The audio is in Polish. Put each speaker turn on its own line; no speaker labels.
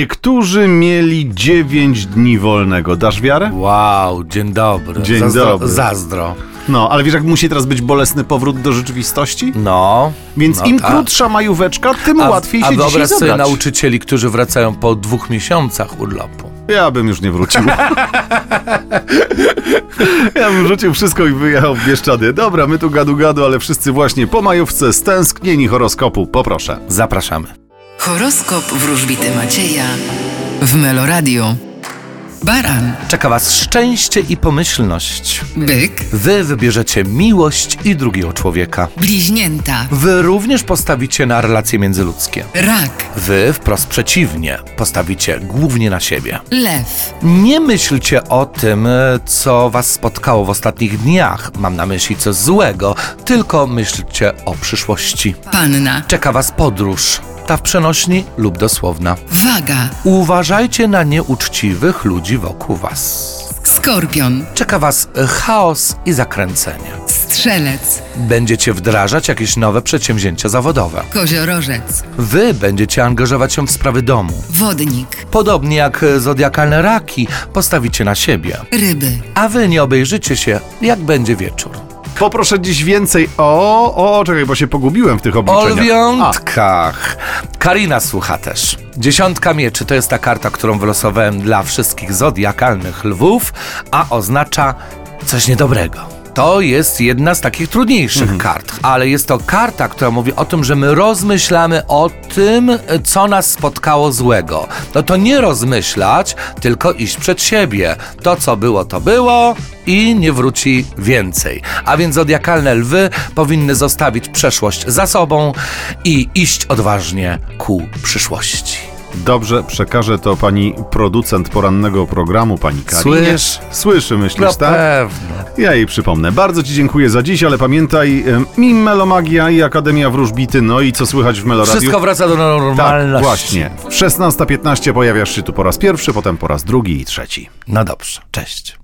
Niektórzy mieli 9 dni wolnego. Dasz wiarę?
Wow, dzień dobry.
Dzień dobry.
Zazdro.
No, ale wiesz, jak musi teraz być bolesny powrót do rzeczywistości?
No.
Więc
no
im
tak.
krótsza majóweczka, tym
A-
No, łatwiej
A
się dzisiaj
wyobraź sobie
zabrać.
nauczycieli, którzy wracają po dwóch miesiącach urlopu.
Ja bym już nie wrócił. ja bym rzucił wszystko i wyjechał w Bieszczady. Dobra, my tu gadu gadu, ale wszyscy właśnie po majówce stęsknieni horoskopu. Poproszę.
Zapraszamy.
Horoskop wróżbity Macieja w Meloradio. Baran,
Czeka Was szczęście i pomyślność.
byk,
Wy wybierzecie miłość i drugiego człowieka.
bliźnięta,
Wy również postawicie na relacje międzyludzkie.
rak,
Wy wprost przeciwnie, postawicie głównie na siebie.
lew,
Nie myślcie o tym, e, co Was spotkało w ostatnich dniach, mam na myśli coś złego, tylko myślcie o przyszłości.
panna,
Czeka Was podróż, ta w przenośni lub dosłowna.
waga,
Uważajcie na nieuczciwych ludzi wokół Was.
skorpion,
Czeka Was e, chaos i zakręcenie.
strzelec,
Będziecie wdrażać jakieś nowe przedsięwzięcia zawodowe.
koziorożec,
Wy będziecie angażować się w sprawy domu.
wodnik,
Podobnie jak e, zodiakalne raki, postawicie na siebie.
ryby.
A wy nie obejrzycie się, jak będzie wieczór.
Poproszę dziś więcej o... O, czekaj, bo się pogubiłem w tych
O
obliczeniach.
lwiątkach. Karina słucha też. Dziesiątka mieczy to jest ta karta, którą wylosowałem dla wszystkich zodiakalnych lwów, a oznacza coś niedobrego. To jest jedna z takich trudniejszych kart, ale jest to karta, która mówi o tym, że my rozmyślamy o tym, co nas spotkało złego. No to nie rozmyślać, tylko iść przed siebie. To, co było, to było i nie wróci więcej. A więc zodiakalne lwy powinny zostawić przeszłość za sobą i iść odważnie ku przyszłości.
Dobrze, przekażę to pani producent porannego programu, pani Karinie.
Słysz?
Słyszy, myślisz,
No
tak?
pewno.
Ja jej przypomnę. Bardzo Ci dziękuję za dziś, ale pamiętaj, em, i Melomagia, i Akademia Wróżbity, no i co słychać w Meloradiu.
Wszystko wraca do normalności.
tak, właśnie. W 16.15 pojawiasz się tu po raz pierwszy, potem po raz drugi i trzeci.
No dobrze, cześć.